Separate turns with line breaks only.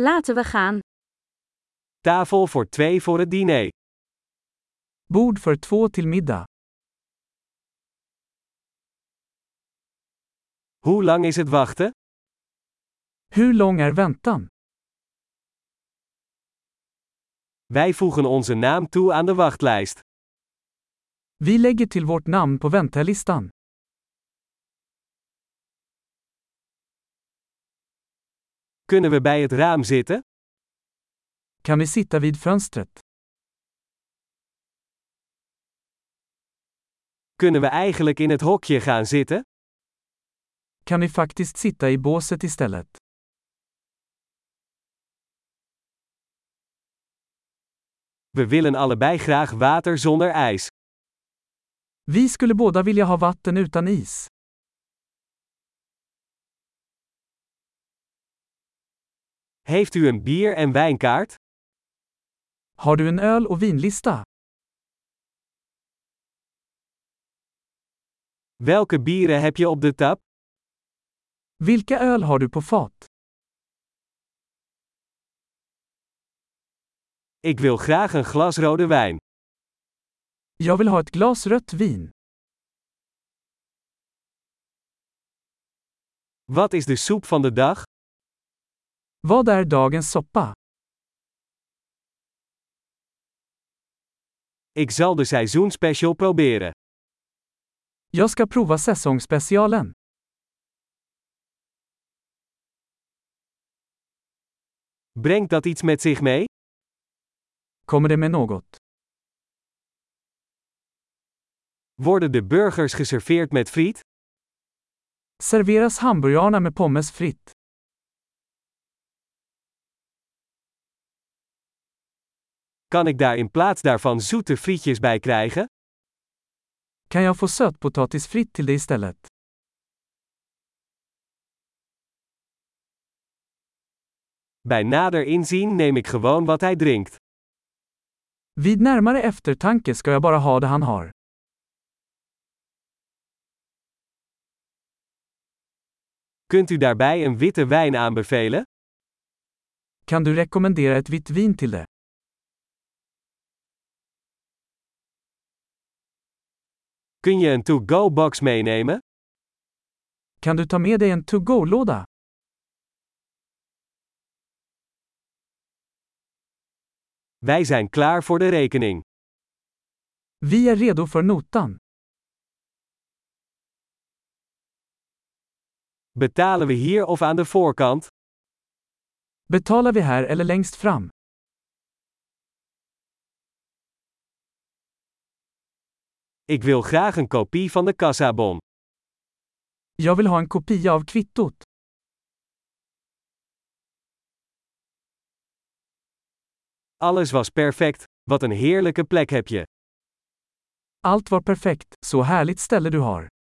Laten we gaan.
Tafel voor twee voor het diner.
Bord för två till middag.
Hoe lang is het wachten?
Hur lång är väntan?
Wij voegen onze naam toe aan de wachtlijst.
Vi lägger till vårt namn på väntelistan.
Kunnen we bij het raam zitten?
Kan vi sitta vid fönstret?
Kunnen we eigenlijk in het hokje gaan zitten?
Kan vi faktiskt sitta i båset istället?
We willen allebei graag water zonder ijs.
Vi skulle båda vilja ha vatten utan is.
Heeft u een bier- en wijnkaart?
Har du en öl och vinlista?
Welke bieren heb je op de tap?
Vilka öl har du på fat?
Ik wil graag een glas rode wijn.
Jag vill ha ett glas rött vin.
Wat is de soep van de dag?
Vad är dagens soppa?
Ik zal de seizoenspecial proberen.
Jag ska prova säsongsspecialen.
Brengt dat iets met zich mee?
Kommer det med något?
Worden de burgers geserveerd met friet?
Serveras hamburgarna med pommes fritt?
Kan ik daar in plaats daarvan zoete frietjes bij krijgen?
Kan jag få sötpotatis fritt till det istället?
Bij nader inzien neem ik gewoon wat hij drinkt.
Vid närmare eftertanke ska jag bara ha det han har.
Kunt u daarbij een witte wijn aanbevelen?
Kan du rekommendera ett vitt vin till det?
Kun je een to-go box meenemen?
Kan du ta med dig en to-go-låda?
Wij zijn klaar voor de rekening.
Vi är redo för notan.
Betalen we hier of aan de voorkant?
Betalar vi här eller längst fram?
Ik wil graag een kopie van de kassabon.
Jag vill ha en kopia av kvittot.
Alles was perfect. Wat een heerlijke plek heb je.
Allt var perfekt, så härligt ställe du har.